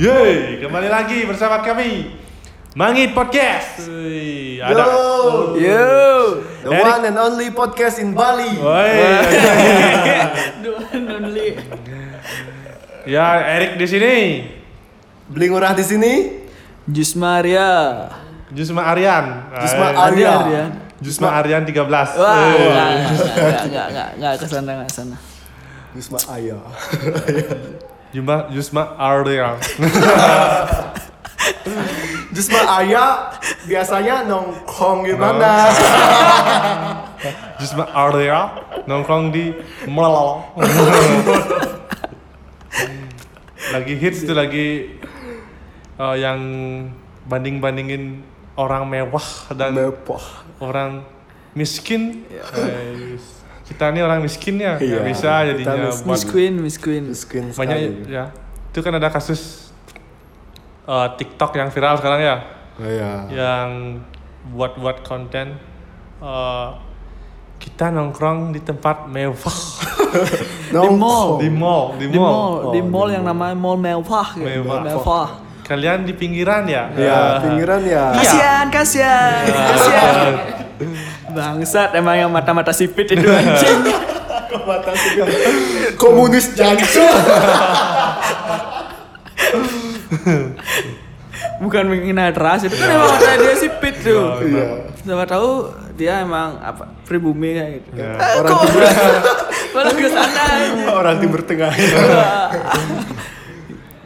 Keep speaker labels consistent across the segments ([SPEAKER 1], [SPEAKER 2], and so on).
[SPEAKER 1] Yeay, kembali lagi bersama kami Mangit Podcast. Wih, ada.
[SPEAKER 2] Yo.
[SPEAKER 3] Yo.
[SPEAKER 2] The
[SPEAKER 1] Eric.
[SPEAKER 2] one and only podcast in Bali.
[SPEAKER 1] Woi.
[SPEAKER 3] Dua only.
[SPEAKER 1] ya Erik di sini.
[SPEAKER 2] Beli murah di sini.
[SPEAKER 3] Jus Maria.
[SPEAKER 1] Jusma Aryan.
[SPEAKER 2] Jusma
[SPEAKER 1] Eh,
[SPEAKER 2] Aryan.
[SPEAKER 3] Arya. Arya.
[SPEAKER 1] Jusma Aryan 13.
[SPEAKER 3] Wah,
[SPEAKER 1] Wih.
[SPEAKER 3] enggak, enggak, enggak, enggak, enggak ke sana, enggak ke sana.
[SPEAKER 2] Yusma Aya.
[SPEAKER 1] Jusma Jusma Aryan.
[SPEAKER 2] Yusma Aya biasanya nongkrong di mana?
[SPEAKER 1] Jusma Aryan nongkrong di Melolong. lagi hits tuh lagi eh, yang banding-bandingin orang mewah dan
[SPEAKER 2] Mepah.
[SPEAKER 1] orang miskin Eh, kita ini orang miskin ya nggak
[SPEAKER 2] Iya,
[SPEAKER 1] bisa
[SPEAKER 2] kita
[SPEAKER 1] jadinya
[SPEAKER 2] miskin.
[SPEAKER 1] buat
[SPEAKER 3] Miss Queen, Miss Queen.
[SPEAKER 2] Miskin
[SPEAKER 1] banyak
[SPEAKER 2] sekali.
[SPEAKER 1] ya itu kan ada kasus eh, TikTok yang viral sekarang ya
[SPEAKER 2] Oh, Iya.
[SPEAKER 1] yang buat buat konten eh, kita nongkrong di tempat mewah
[SPEAKER 2] Nongkrong.
[SPEAKER 1] di mall di
[SPEAKER 3] Di
[SPEAKER 1] mall
[SPEAKER 3] mall, di
[SPEAKER 2] Oh,
[SPEAKER 3] mall
[SPEAKER 2] di
[SPEAKER 3] yang
[SPEAKER 2] Oh. mall.
[SPEAKER 3] namanya Mall Mewah gitu.
[SPEAKER 1] Mewah.
[SPEAKER 3] Mewah.
[SPEAKER 1] kalian di pinggiran ya
[SPEAKER 2] Ya,
[SPEAKER 1] Eh,
[SPEAKER 2] pinggiran ya.
[SPEAKER 1] Iya.
[SPEAKER 3] Kasihan, kasihan, kasihan.
[SPEAKER 1] eh,
[SPEAKER 3] Bangsat emang yang mata-mata sipit itu anjing.
[SPEAKER 2] Komunis jancuk.
[SPEAKER 3] Bukan menghina ras, itu kan emang mata dia sipit tuh.
[SPEAKER 2] Iya.
[SPEAKER 3] Sama tahu dia emang apa pribumi kayak gitu.
[SPEAKER 1] Ya.
[SPEAKER 3] Eh,
[SPEAKER 2] Orang
[SPEAKER 3] kok-
[SPEAKER 2] timur.
[SPEAKER 3] Malah ke sana.
[SPEAKER 1] Iya.
[SPEAKER 3] anjing.
[SPEAKER 2] Orang timur tengah.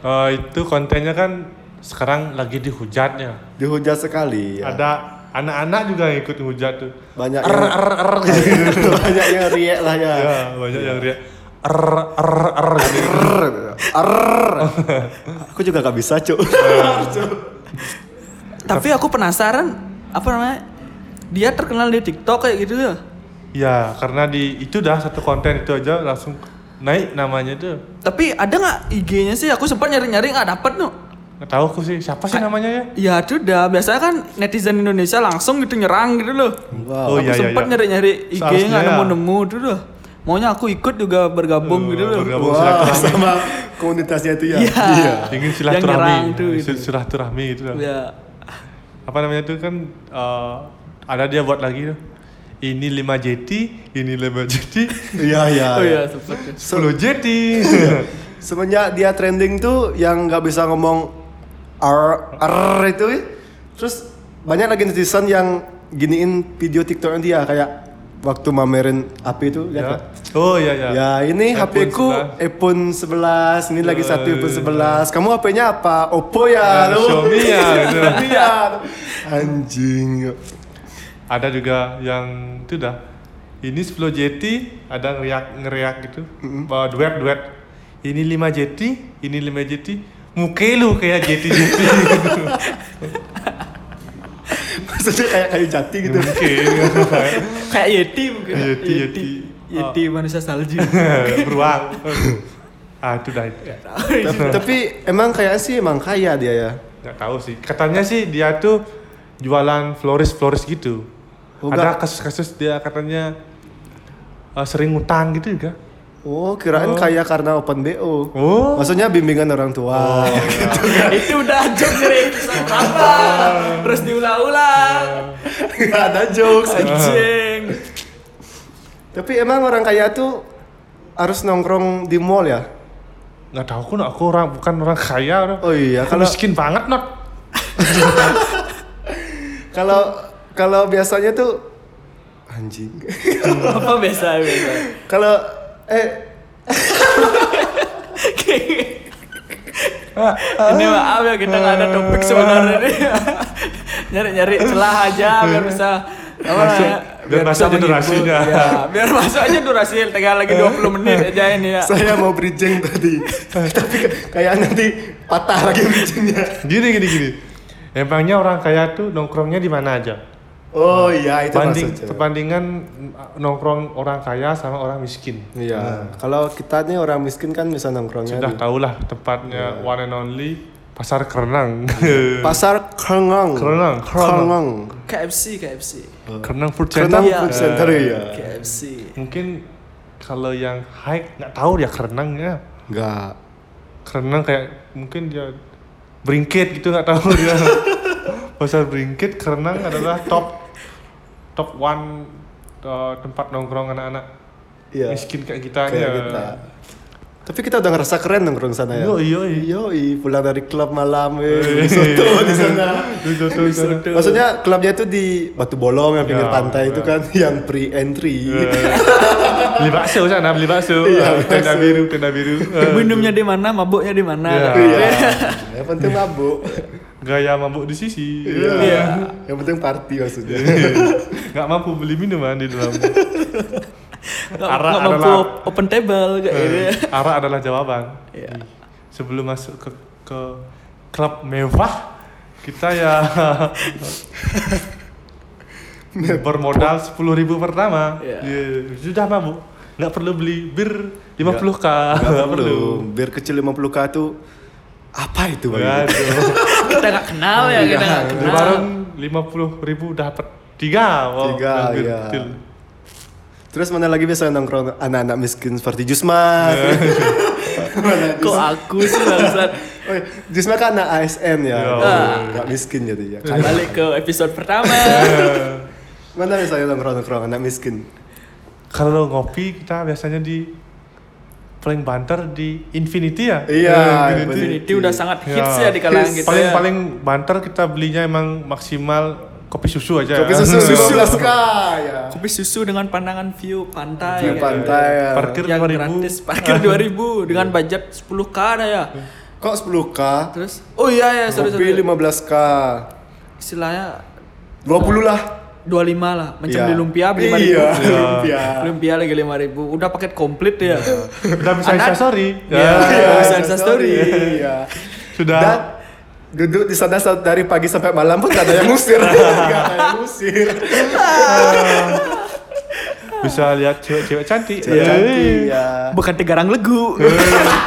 [SPEAKER 1] eh, itu kontennya kan sekarang lagi dihujat ya
[SPEAKER 2] Dihujat sekali. ya.
[SPEAKER 1] ada anak-anak juga yang ikut hujat tuh Er,
[SPEAKER 2] Banyak yang
[SPEAKER 1] gitu.
[SPEAKER 2] banyak yang riak lah ya.
[SPEAKER 1] ya banyak yang riak er er er gitu.
[SPEAKER 2] Arr. Aku juga gak bisa, Cuk.
[SPEAKER 3] Tapi aku penasaran apa namanya? Dia terkenal di TikTok kayak gitu ya.
[SPEAKER 1] ya karena di itu dah satu konten itu aja langsung naik namanya tuh
[SPEAKER 3] Tapi ada nggak IG-nya sih? Aku sempat nyari-nyari nggak dapet no.
[SPEAKER 1] nggak tahu aku sih siapa sih namanya ya
[SPEAKER 3] Ya itu dah. Biasanya kan netizen Indonesia langsung gitu nyerang gitu loh.
[SPEAKER 1] Oh,
[SPEAKER 2] Wow.
[SPEAKER 3] aku
[SPEAKER 1] iya, iya,
[SPEAKER 3] sempat
[SPEAKER 1] iya.
[SPEAKER 3] nyari-nyari IG
[SPEAKER 1] Seharusnya
[SPEAKER 3] nggak
[SPEAKER 1] ya.
[SPEAKER 3] nemu-nemu dulu loh. Maunya aku ikut juga bergabung gitu
[SPEAKER 1] Oh,
[SPEAKER 3] loh.
[SPEAKER 1] bergabung
[SPEAKER 2] Wah,
[SPEAKER 1] silaturahmi
[SPEAKER 2] sama komunitasnya itu ya.
[SPEAKER 3] Iya.
[SPEAKER 1] ingin
[SPEAKER 3] Yang
[SPEAKER 1] silaturahmi
[SPEAKER 3] nyerang tuh
[SPEAKER 1] Sil-
[SPEAKER 3] itu.
[SPEAKER 1] silaturahmi itu dah.
[SPEAKER 3] Ya.
[SPEAKER 1] apa namanya tuh kan eh, ada dia buat lagi tuh ini 5 jeti ini 5 jeti
[SPEAKER 2] Iya, iya.
[SPEAKER 1] Ah,
[SPEAKER 3] Oh
[SPEAKER 2] iya.
[SPEAKER 3] iya sempat.
[SPEAKER 1] 10 jeti
[SPEAKER 2] Semenjak dia trending tuh yang nggak bisa ngomong r r itu, terus banyak lagi netizen yang giniin video TikToknya dia kayak waktu mamerin api itu lihat
[SPEAKER 1] ya.
[SPEAKER 2] nggak?
[SPEAKER 1] oh iya iya
[SPEAKER 2] Ya ini
[SPEAKER 1] iPhone
[SPEAKER 2] HP ku
[SPEAKER 1] 11.
[SPEAKER 2] iPhone 11, ini lagi satu iPhone
[SPEAKER 1] Eh.
[SPEAKER 2] 11. Kamu HP-nya apa? Oppo ya,
[SPEAKER 1] Eh,
[SPEAKER 2] lu.
[SPEAKER 1] Xiaomi ya, gitu.
[SPEAKER 2] Xiaomi ya. Anjing.
[SPEAKER 1] ada juga yang itu dah ini 10 JT ada ngeriak ngeriak gitu bahwa duet duet ini 5 JT ini 5 JT muke lu kayak JT JT gitu
[SPEAKER 2] Maksudnya kayak kayu jati gitu.
[SPEAKER 1] muke
[SPEAKER 3] Kayak Yeti mungkin.
[SPEAKER 1] Yeti, Yeti. Ah.
[SPEAKER 3] Yeti manusia salju.
[SPEAKER 1] beruang ah itu dah Hmm.
[SPEAKER 2] Tapi emang kayak sih emang kaya dia ya.
[SPEAKER 1] nggak tahu sih katanya sih dia tuh jualan floris floris gitu
[SPEAKER 2] Oh,
[SPEAKER 1] ada
[SPEAKER 2] nggak.
[SPEAKER 1] kasus-kasus dia katanya eh, sering utang gitu juga
[SPEAKER 2] Oh, kirain kaya karena open BO.
[SPEAKER 1] oh
[SPEAKER 2] Maksudnya bimbingan orang tua.
[SPEAKER 3] itu udah joke dari episode berapa terus diulang-ulang
[SPEAKER 2] Gak ada jokes.
[SPEAKER 1] Ah.
[SPEAKER 3] anjing
[SPEAKER 2] Tapi emang orang kaya tuh harus nongkrong di mall ya?
[SPEAKER 1] nggak tahu aku aku orang bukan orang kaya orang.
[SPEAKER 2] Oh iya,
[SPEAKER 1] Aku
[SPEAKER 2] kalau
[SPEAKER 1] miskin banget not
[SPEAKER 2] kalau kalau biasanya tuh anjing.
[SPEAKER 3] apa biasa biasa
[SPEAKER 2] kalau eh
[SPEAKER 1] Ah,
[SPEAKER 3] ini maaf ya kita nggak ada topik sebenarnya ini nyari-nyari celah aja biar bisa apa
[SPEAKER 1] Masuk.
[SPEAKER 3] namanya,
[SPEAKER 1] Biar masuk
[SPEAKER 3] bisa
[SPEAKER 1] aja
[SPEAKER 3] menghibur.
[SPEAKER 1] durasinya. Ah.
[SPEAKER 3] ya, biar masuk aja durasi tengah lagi 20 menit aja ini ya
[SPEAKER 2] saya mau bridging tadi. Tapi kayak nanti patah lagi bridgingnya.
[SPEAKER 1] gini gini gini emangnya orang kaya tuh nongkrongnya di mana aja
[SPEAKER 2] Oh iya itu
[SPEAKER 1] banding
[SPEAKER 2] maksudnya.
[SPEAKER 1] perbandingan nongkrong orang kaya sama orang miskin Nah,
[SPEAKER 2] Iya. Kalau kita nih orang miskin kan bisa nongkrongnya
[SPEAKER 1] sudah
[SPEAKER 2] di
[SPEAKER 1] tahulah tempatnya
[SPEAKER 2] Iya.
[SPEAKER 1] one and only pasar kerenang
[SPEAKER 2] pasar Kerengong.
[SPEAKER 1] Kerengong, Kerengong.
[SPEAKER 2] Kerengong.
[SPEAKER 3] KFC KFC
[SPEAKER 1] kerenang food center
[SPEAKER 2] Kerengong
[SPEAKER 3] Iya.
[SPEAKER 2] Food Center ya.
[SPEAKER 3] KFC
[SPEAKER 1] mungkin kalau yang high nggak tahu ya kerenangnya
[SPEAKER 2] Enggak.
[SPEAKER 1] kerenang kayak mungkin dia beringkit gitu nggak tahu dia pasar beringkit Kerenang adalah top top one uh, tempat nongkrong anak-anak
[SPEAKER 2] Iya.
[SPEAKER 1] miskin kayak kita ya. Iya.
[SPEAKER 2] Kayak
[SPEAKER 1] aja.
[SPEAKER 2] kita. Tapi kita udah ngerasa keren nongkrong sana ya.
[SPEAKER 1] Yoi, yoi.
[SPEAKER 2] Yoi, pulang dari klub malam, eh, soto di sana.
[SPEAKER 1] Di soto, di sana.
[SPEAKER 2] Maksudnya klubnya itu di Batu Bolong yang pinggir
[SPEAKER 1] Ya,
[SPEAKER 2] pantai itu
[SPEAKER 1] ya.
[SPEAKER 2] kan yang pre entry.
[SPEAKER 1] beli bakso sana beli bakso
[SPEAKER 2] Iya,
[SPEAKER 1] Eh, tenda
[SPEAKER 2] bakso.
[SPEAKER 1] biru tenda biru Eh,
[SPEAKER 3] minumnya di mana mabuknya di mana
[SPEAKER 1] Iya.
[SPEAKER 3] ya.
[SPEAKER 2] Iya. yang penting mabuk.
[SPEAKER 1] gaya mabuk di sisi Ah.
[SPEAKER 2] Iya. Yang penting party maksudnya.
[SPEAKER 1] nggak mampu beli minuman di dalam Ah.
[SPEAKER 3] nggak
[SPEAKER 1] Arak
[SPEAKER 3] nggak mampu
[SPEAKER 1] adalah-
[SPEAKER 3] open table kayak gitu
[SPEAKER 2] Iya.
[SPEAKER 1] Eh, arah adalah jawaban
[SPEAKER 3] Iya.
[SPEAKER 1] sebelum masuk ke ke klub mewah kita ya bermodal 10.000 ribu pertama
[SPEAKER 3] Iya.
[SPEAKER 1] Iya, sudah mabuk nggak perlu beli bir 50 k
[SPEAKER 2] Nggak perlu. Biar kecil 50k tuh apa itu bang?
[SPEAKER 3] kita nggak kenal ya kita nggak
[SPEAKER 1] di
[SPEAKER 2] Nah.
[SPEAKER 3] kenal
[SPEAKER 1] warung 50 ribu dapat tiga wow,
[SPEAKER 2] Tiga,
[SPEAKER 1] hampir
[SPEAKER 2] iya.
[SPEAKER 1] kecil.
[SPEAKER 2] Terus mana lagi biasa nongkrong anak-anak miskin seperti Jusma?
[SPEAKER 3] kok aku sih bangsat
[SPEAKER 2] Oi, Jusma kan anak ASN ya,
[SPEAKER 1] Yo.
[SPEAKER 2] nggak miskin jadi ya.
[SPEAKER 3] balik ke episode pertama
[SPEAKER 2] Mana misalnya nongkrong-nongkrong anak miskin?
[SPEAKER 1] kalau ngopi kita biasanya di paling banter di Infinity ya
[SPEAKER 2] Iya,
[SPEAKER 1] Eh,
[SPEAKER 2] Infinity.
[SPEAKER 1] Infinity.
[SPEAKER 3] Infinity udah sangat
[SPEAKER 1] Ya.
[SPEAKER 3] hits ya di kalangan
[SPEAKER 2] Hits.
[SPEAKER 3] kita
[SPEAKER 1] paling
[SPEAKER 3] ya.
[SPEAKER 1] paling banter kita belinya emang maksimal kopi susu aja Hmm.
[SPEAKER 2] Kopi Ya. susu
[SPEAKER 3] Susu.
[SPEAKER 2] 15k ya.
[SPEAKER 3] kopi susu dengan pandangan view pantai
[SPEAKER 2] View
[SPEAKER 3] kayak
[SPEAKER 2] pantai. ya.
[SPEAKER 1] Iya. parkir
[SPEAKER 3] yang
[SPEAKER 1] 2000
[SPEAKER 3] gratis parkir 2000 dengan budget 10k ada ya
[SPEAKER 2] Kok 10k?
[SPEAKER 3] terus oh iya ya sorry
[SPEAKER 2] Iya. Kopi
[SPEAKER 3] sorry
[SPEAKER 2] 15k.
[SPEAKER 3] istilahnya
[SPEAKER 2] 20 lah.
[SPEAKER 3] 25 lah macam
[SPEAKER 2] Iya.
[SPEAKER 3] di lumpia beli 5000
[SPEAKER 2] Iya,
[SPEAKER 1] Iya.
[SPEAKER 2] lumpia.
[SPEAKER 3] lumpia lagi 5000 udah paket komplit ya
[SPEAKER 1] udah bisa
[SPEAKER 3] Anak-
[SPEAKER 1] instastory
[SPEAKER 3] Iya.
[SPEAKER 1] ya.
[SPEAKER 2] Iya,
[SPEAKER 3] Bisa
[SPEAKER 2] Insta
[SPEAKER 3] story.
[SPEAKER 2] Iya.
[SPEAKER 1] sudah
[SPEAKER 2] Dan duduk di sana saat- dari pagi sampai malam pun gak ada yang ngusir. Gak ada yang ngusir.
[SPEAKER 1] bisa lihat cewek-cewek cantik Iya.
[SPEAKER 2] Cewek cantik,
[SPEAKER 1] Yeay.
[SPEAKER 2] ya.
[SPEAKER 3] bukan garang legu
[SPEAKER 2] Iya.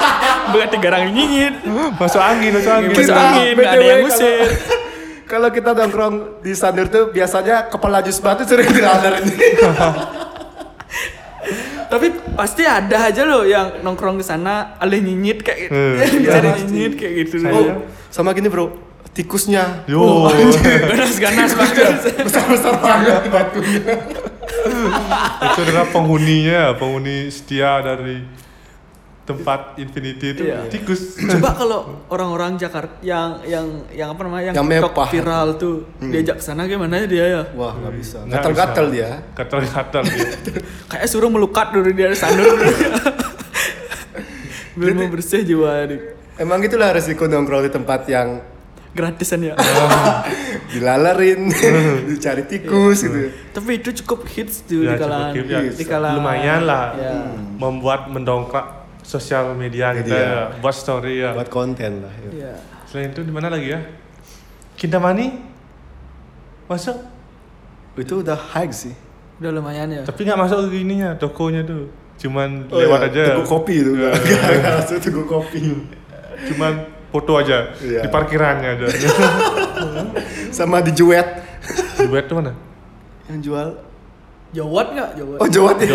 [SPEAKER 3] bukan garang nyingit
[SPEAKER 1] masuk angin masuk angin
[SPEAKER 3] Masuk angin, nggak ada
[SPEAKER 2] BTW,
[SPEAKER 3] yang ngusir.
[SPEAKER 2] kalau- Kalau kita nongkrong di Sandur tuh biasanya kepala jus batu sering diladar ini.
[SPEAKER 3] tapi pasti ada aja loh yang nongkrong di sana alih nyingit kayak gitu
[SPEAKER 1] Hmm.
[SPEAKER 3] bicara
[SPEAKER 2] Iya, pasti.
[SPEAKER 3] nyingit kayak gitu
[SPEAKER 1] Saya-
[SPEAKER 3] oh,
[SPEAKER 2] Oh, sama gini bro, tikusnya
[SPEAKER 1] yo
[SPEAKER 2] Oh.
[SPEAKER 3] ganas ganas
[SPEAKER 2] Iya.
[SPEAKER 3] banget
[SPEAKER 2] besar-besar banget batunya.
[SPEAKER 1] itu adalah penghuninya penghuni setia dari tempat Infinity itu
[SPEAKER 3] Iya.
[SPEAKER 1] tikus
[SPEAKER 3] coba kalau orang-orang Jakarta yang yang yang apa namanya yang,
[SPEAKER 2] Yang
[SPEAKER 3] TikTok
[SPEAKER 2] mepah. Hmm.
[SPEAKER 3] viral tuh diajak ke sana gimana ya dia ya
[SPEAKER 2] Wah nggak bisa,
[SPEAKER 1] Nggak
[SPEAKER 2] gatel-gatel
[SPEAKER 1] bisa.
[SPEAKER 2] dia.
[SPEAKER 1] gatel-gatel dia
[SPEAKER 3] kayak suruh melukat dulu dia sandur belum mau bersih jiwa adik
[SPEAKER 2] Emang gitulah resiko nongkrong di tempat yang
[SPEAKER 3] gratisan ya
[SPEAKER 2] Ah. dilalarin, dicari tikus gitu.
[SPEAKER 3] tapi itu cukup hits tuh
[SPEAKER 1] Ya,
[SPEAKER 3] di kalangan
[SPEAKER 1] cukup hits.
[SPEAKER 3] di kalangan
[SPEAKER 1] lumayan lah
[SPEAKER 3] ya.
[SPEAKER 2] Hmm.
[SPEAKER 1] membuat mendongkrak sosial media kita ya,
[SPEAKER 2] Media.
[SPEAKER 1] buat story ya
[SPEAKER 2] Buat konten lah. ya.
[SPEAKER 3] Ya.
[SPEAKER 1] selain itu di mana lagi ya Kintamani masuk
[SPEAKER 2] Itu udah high sih.
[SPEAKER 3] udah lumayan ya
[SPEAKER 1] tapi nggak masuk ke ininya tokonya tuh cuman
[SPEAKER 2] Oh
[SPEAKER 1] lewat aja
[SPEAKER 2] iya, Teguk kopi itu.
[SPEAKER 1] Iya.
[SPEAKER 2] Nggak langsung teguk kopi.
[SPEAKER 1] cuman foto aja
[SPEAKER 2] Iya.
[SPEAKER 1] di parkirannya ada
[SPEAKER 2] Sama di Juwet.
[SPEAKER 1] di web tuh mana
[SPEAKER 2] Yang jual.
[SPEAKER 3] jawat nggak jawat
[SPEAKER 2] Oh Juwet ya.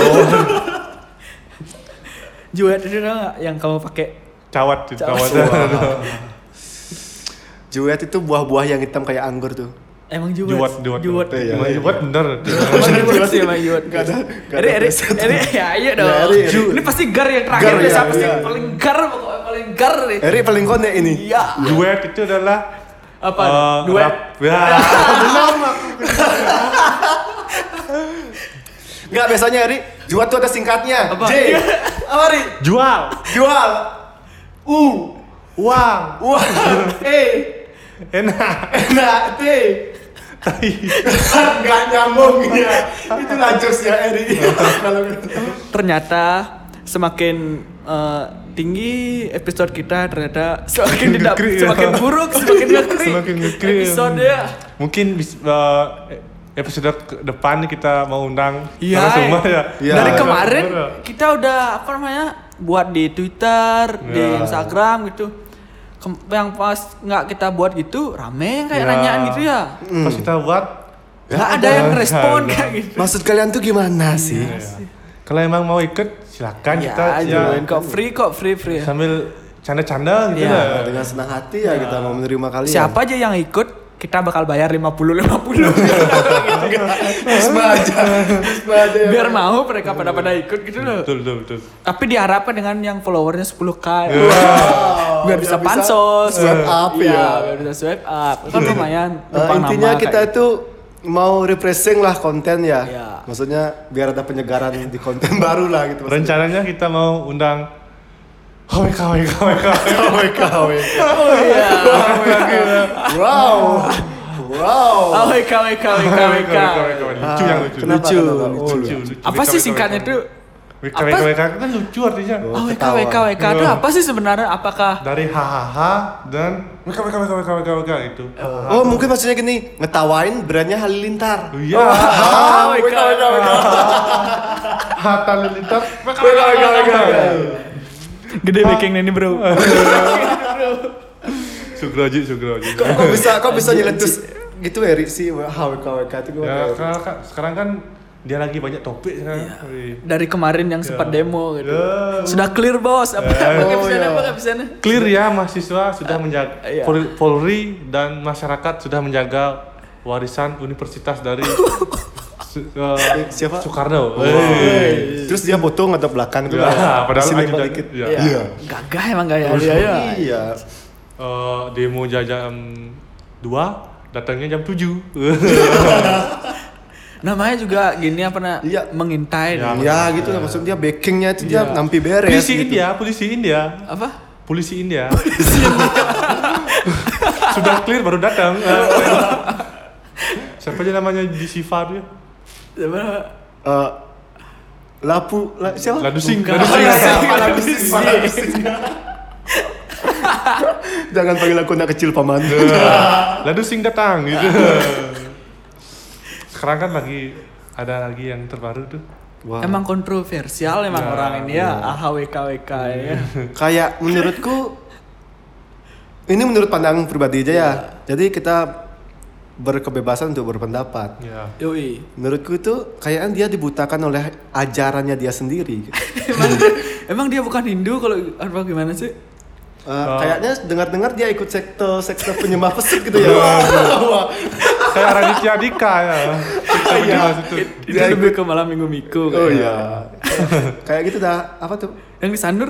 [SPEAKER 3] jawat itu tau nggak yang kamu pakai
[SPEAKER 1] cawat di
[SPEAKER 3] Cawat.
[SPEAKER 1] cawat
[SPEAKER 2] Juwet itu buah-buah yang hitam kayak anggur tuh.
[SPEAKER 3] emang jawat
[SPEAKER 1] juwat juwat
[SPEAKER 3] jawat
[SPEAKER 2] Iya,
[SPEAKER 1] Cuman
[SPEAKER 2] iya.
[SPEAKER 1] juwat bener
[SPEAKER 3] Emang jawat sih emang jawat
[SPEAKER 2] Nggak ada. nggak ada
[SPEAKER 3] Eri, Eri,
[SPEAKER 2] preset.
[SPEAKER 3] Eri, ya ayo dong.
[SPEAKER 2] Ya, Eri, Eri.
[SPEAKER 3] Ini pasti gar yang terakhir
[SPEAKER 2] Gar,
[SPEAKER 3] deh,
[SPEAKER 2] ya,
[SPEAKER 3] siapa sih
[SPEAKER 2] iya. Eh.
[SPEAKER 3] yang paling gar pokoknya paling gar nih.
[SPEAKER 2] Eri paling konek ini.
[SPEAKER 3] Iya.
[SPEAKER 1] duet itu adalah
[SPEAKER 3] Apa?
[SPEAKER 1] eh,
[SPEAKER 3] Duet.
[SPEAKER 1] rap- ya
[SPEAKER 2] Enggak biasanya Eri, Juwet tuh ada singkatnya.
[SPEAKER 3] Apa?
[SPEAKER 2] J. Apa Iya. Eri?
[SPEAKER 1] jual
[SPEAKER 2] Jual. U.
[SPEAKER 1] uang
[SPEAKER 2] Wah. E.
[SPEAKER 1] enak
[SPEAKER 2] Nah, T. Enggak nyambung ya. Itu lanjut ya Eri. Kalau gitu.
[SPEAKER 3] Ternyata semakin eh, tinggi episode kita ternyata semakin tidak
[SPEAKER 1] ngekrik, ya.
[SPEAKER 3] semakin buruk semakin ngekrik
[SPEAKER 1] Semakin ngekrik.
[SPEAKER 3] episode ya
[SPEAKER 1] mungkin bis- eh, episode ke depan kita mau undang
[SPEAKER 3] Iya.
[SPEAKER 1] narasumber ya.
[SPEAKER 2] Iya.
[SPEAKER 3] Dari
[SPEAKER 2] Iya.
[SPEAKER 3] kemarin kita udah apa namanya buat di Twitter, di
[SPEAKER 1] Iya.
[SPEAKER 3] Instagram gitu. Kem- yang pas nggak kita buat gitu rame yang kayak
[SPEAKER 1] Iya.
[SPEAKER 3] nanyaan gitu ya.
[SPEAKER 1] Pas kita buat
[SPEAKER 3] Nggak ada yang
[SPEAKER 1] ada.
[SPEAKER 3] respon
[SPEAKER 1] Nggak
[SPEAKER 3] kayak
[SPEAKER 1] ada.
[SPEAKER 3] gitu.
[SPEAKER 2] Maksud kalian tuh gimana sih?
[SPEAKER 1] ya. kalau emang mau ikut silakan
[SPEAKER 3] Ya,
[SPEAKER 1] kita ya, Kan
[SPEAKER 3] join kok free kok free free. ya.
[SPEAKER 1] sambil canda-canda gitu
[SPEAKER 3] Iya.
[SPEAKER 1] lah.
[SPEAKER 2] Nah, dengan senang hati ya kita mau menerima kalian.
[SPEAKER 3] Siapa aja yang ikut, kita bakal bayar 50-50.
[SPEAKER 2] Bisma aja. Bisma aja. ya.
[SPEAKER 3] Gitu. Biar mau mereka pada-pada ikut gitu loh.
[SPEAKER 1] Betul, betul, betul.
[SPEAKER 3] Tapi diharapkan dengan yang followernya 10k.
[SPEAKER 2] Wow,
[SPEAKER 3] biar bisa pansos.
[SPEAKER 2] swipe up
[SPEAKER 3] Iya,
[SPEAKER 2] ya.
[SPEAKER 3] Biar bisa swipe up. Kan lumayan.
[SPEAKER 2] Eh,
[SPEAKER 3] numpang
[SPEAKER 2] intinya
[SPEAKER 3] nama
[SPEAKER 2] kita
[SPEAKER 3] kayak- gitu.
[SPEAKER 2] itu mau refreshing lah konten ya.
[SPEAKER 3] Iya.
[SPEAKER 2] Maksudnya biar ada penyegaran di konten baru lah gitu. maksudnya.
[SPEAKER 1] Rencananya kita mau undang WK, WK, WK.
[SPEAKER 2] AWK, AWK.
[SPEAKER 3] Oh iya.
[SPEAKER 2] Wow. Wow.
[SPEAKER 3] Oh, WK, WK, WK, WK.
[SPEAKER 1] Lucu yang lucu. Lucu,
[SPEAKER 2] Kenapa, kenapa?
[SPEAKER 1] lucu,
[SPEAKER 2] Oh,
[SPEAKER 1] lucu, lucu.
[SPEAKER 3] Apa
[SPEAKER 1] WK,
[SPEAKER 3] sih
[SPEAKER 1] WK,
[SPEAKER 3] singkatnya
[SPEAKER 1] WK.
[SPEAKER 3] tuh?
[SPEAKER 1] WK,
[SPEAKER 3] Apa?
[SPEAKER 1] WK, WK kan lucu artinya.
[SPEAKER 2] Oh,
[SPEAKER 3] Oh, WK,
[SPEAKER 2] ketawa.
[SPEAKER 3] WK, WK. Itu apa sih sebenarnya? Apakah
[SPEAKER 1] Dari hahaha dan WK, WK, WK, WK, WK, WK gitu.
[SPEAKER 2] Oh mungkin maksudnya gini ngetawain brandnya Halilintar.
[SPEAKER 1] Oh, Iya.
[SPEAKER 3] Ah,
[SPEAKER 2] wake up, wake up, wake
[SPEAKER 1] Hatta Lilitar. WK,
[SPEAKER 2] Wake up, wake up, wake up.
[SPEAKER 3] gede baking ini, Bro?
[SPEAKER 1] Sugroji, Sugroji.
[SPEAKER 2] Kok, kok bisa kok bisa nyeletus gitu ya Ri, sih HWK WK itu gue.
[SPEAKER 1] Ya, sekarang, sekarang kan dia lagi banyak topik sekarang.
[SPEAKER 3] Iya.
[SPEAKER 1] Wih.
[SPEAKER 3] Dari kemarin yang sempat demo gitu.
[SPEAKER 1] Ya.
[SPEAKER 3] Sudah clear, Bos. Apa apa
[SPEAKER 2] Oh,
[SPEAKER 3] keputusannya?
[SPEAKER 2] iya.
[SPEAKER 3] Apa keputusannya?
[SPEAKER 1] Clear ya mahasiswa
[SPEAKER 2] Eh,
[SPEAKER 1] sudah menjaga
[SPEAKER 3] iya.
[SPEAKER 1] Pol- Polri dan masyarakat sudah menjaga warisan universitas dari Su- eh,
[SPEAKER 2] Siapa?
[SPEAKER 1] Soekarno. Hey.
[SPEAKER 2] Hey. Terus dia foto ngadep belakang gitu.
[SPEAKER 1] Ya, padahal
[SPEAKER 2] sini
[SPEAKER 1] ajudan-
[SPEAKER 2] dikit.
[SPEAKER 1] ya.
[SPEAKER 2] Iya.
[SPEAKER 3] Gagah emang gaya dia ya.
[SPEAKER 2] Iya.
[SPEAKER 1] Eh, demo ja- jam 2 datangnya jam 7.
[SPEAKER 2] Iya,
[SPEAKER 3] Namanya juga gini apa nak?
[SPEAKER 2] Iya.
[SPEAKER 3] Mengintai.
[SPEAKER 1] Ya.
[SPEAKER 2] Ya gitu lah maksud dia backingnya itu dia
[SPEAKER 1] Iya.
[SPEAKER 2] nampi beres.
[SPEAKER 1] polisi
[SPEAKER 2] gitu.
[SPEAKER 1] India, polisi India,
[SPEAKER 3] Apa?
[SPEAKER 1] polisi India. sudah clear baru datang. Eh,
[SPEAKER 2] Iya.
[SPEAKER 1] Siapa aja namanya di Siva dia?
[SPEAKER 3] Apa?
[SPEAKER 2] Eh, lapu la, siapa?
[SPEAKER 1] Ladusing,
[SPEAKER 3] Bukan.
[SPEAKER 1] Ladusing.
[SPEAKER 2] Iya, iya,
[SPEAKER 1] Siapa?
[SPEAKER 2] Pak Ladusing, Pak Ladusing. Jangan panggil aku anak kecil paman.
[SPEAKER 1] Lalu sing datang gitu. Sekarang kan lagi ada lagi yang terbaru tuh.
[SPEAKER 2] Wah.
[SPEAKER 3] Emang kontroversial emang
[SPEAKER 1] Ya,
[SPEAKER 3] orang ini ya, AHWKWK ya.
[SPEAKER 2] kayak menurutku ini menurut pandangan pribadi aja ya. Jadi kita berkebebasan untuk berpendapat.
[SPEAKER 1] Ya.
[SPEAKER 3] Yoi.
[SPEAKER 2] Menurutku itu kayaknya dia dibutakan oleh ajarannya dia sendiri.
[SPEAKER 3] Emang dia, emang dia bukan Hindu kalau apa gimana sih?
[SPEAKER 2] Eh, kayaknya dengar-dengar dia ikut sekte sekte penyembah pesek gitu ya. Wah.
[SPEAKER 1] Kayak Raditya Dika ya. Kita
[SPEAKER 2] Iya.
[SPEAKER 1] bahas itu.
[SPEAKER 3] Itu lebih ke malam minggu
[SPEAKER 2] oh
[SPEAKER 3] miku. kayaknya.
[SPEAKER 2] iya. kayak gitu dah. Apa tuh?
[SPEAKER 3] Yang disandur.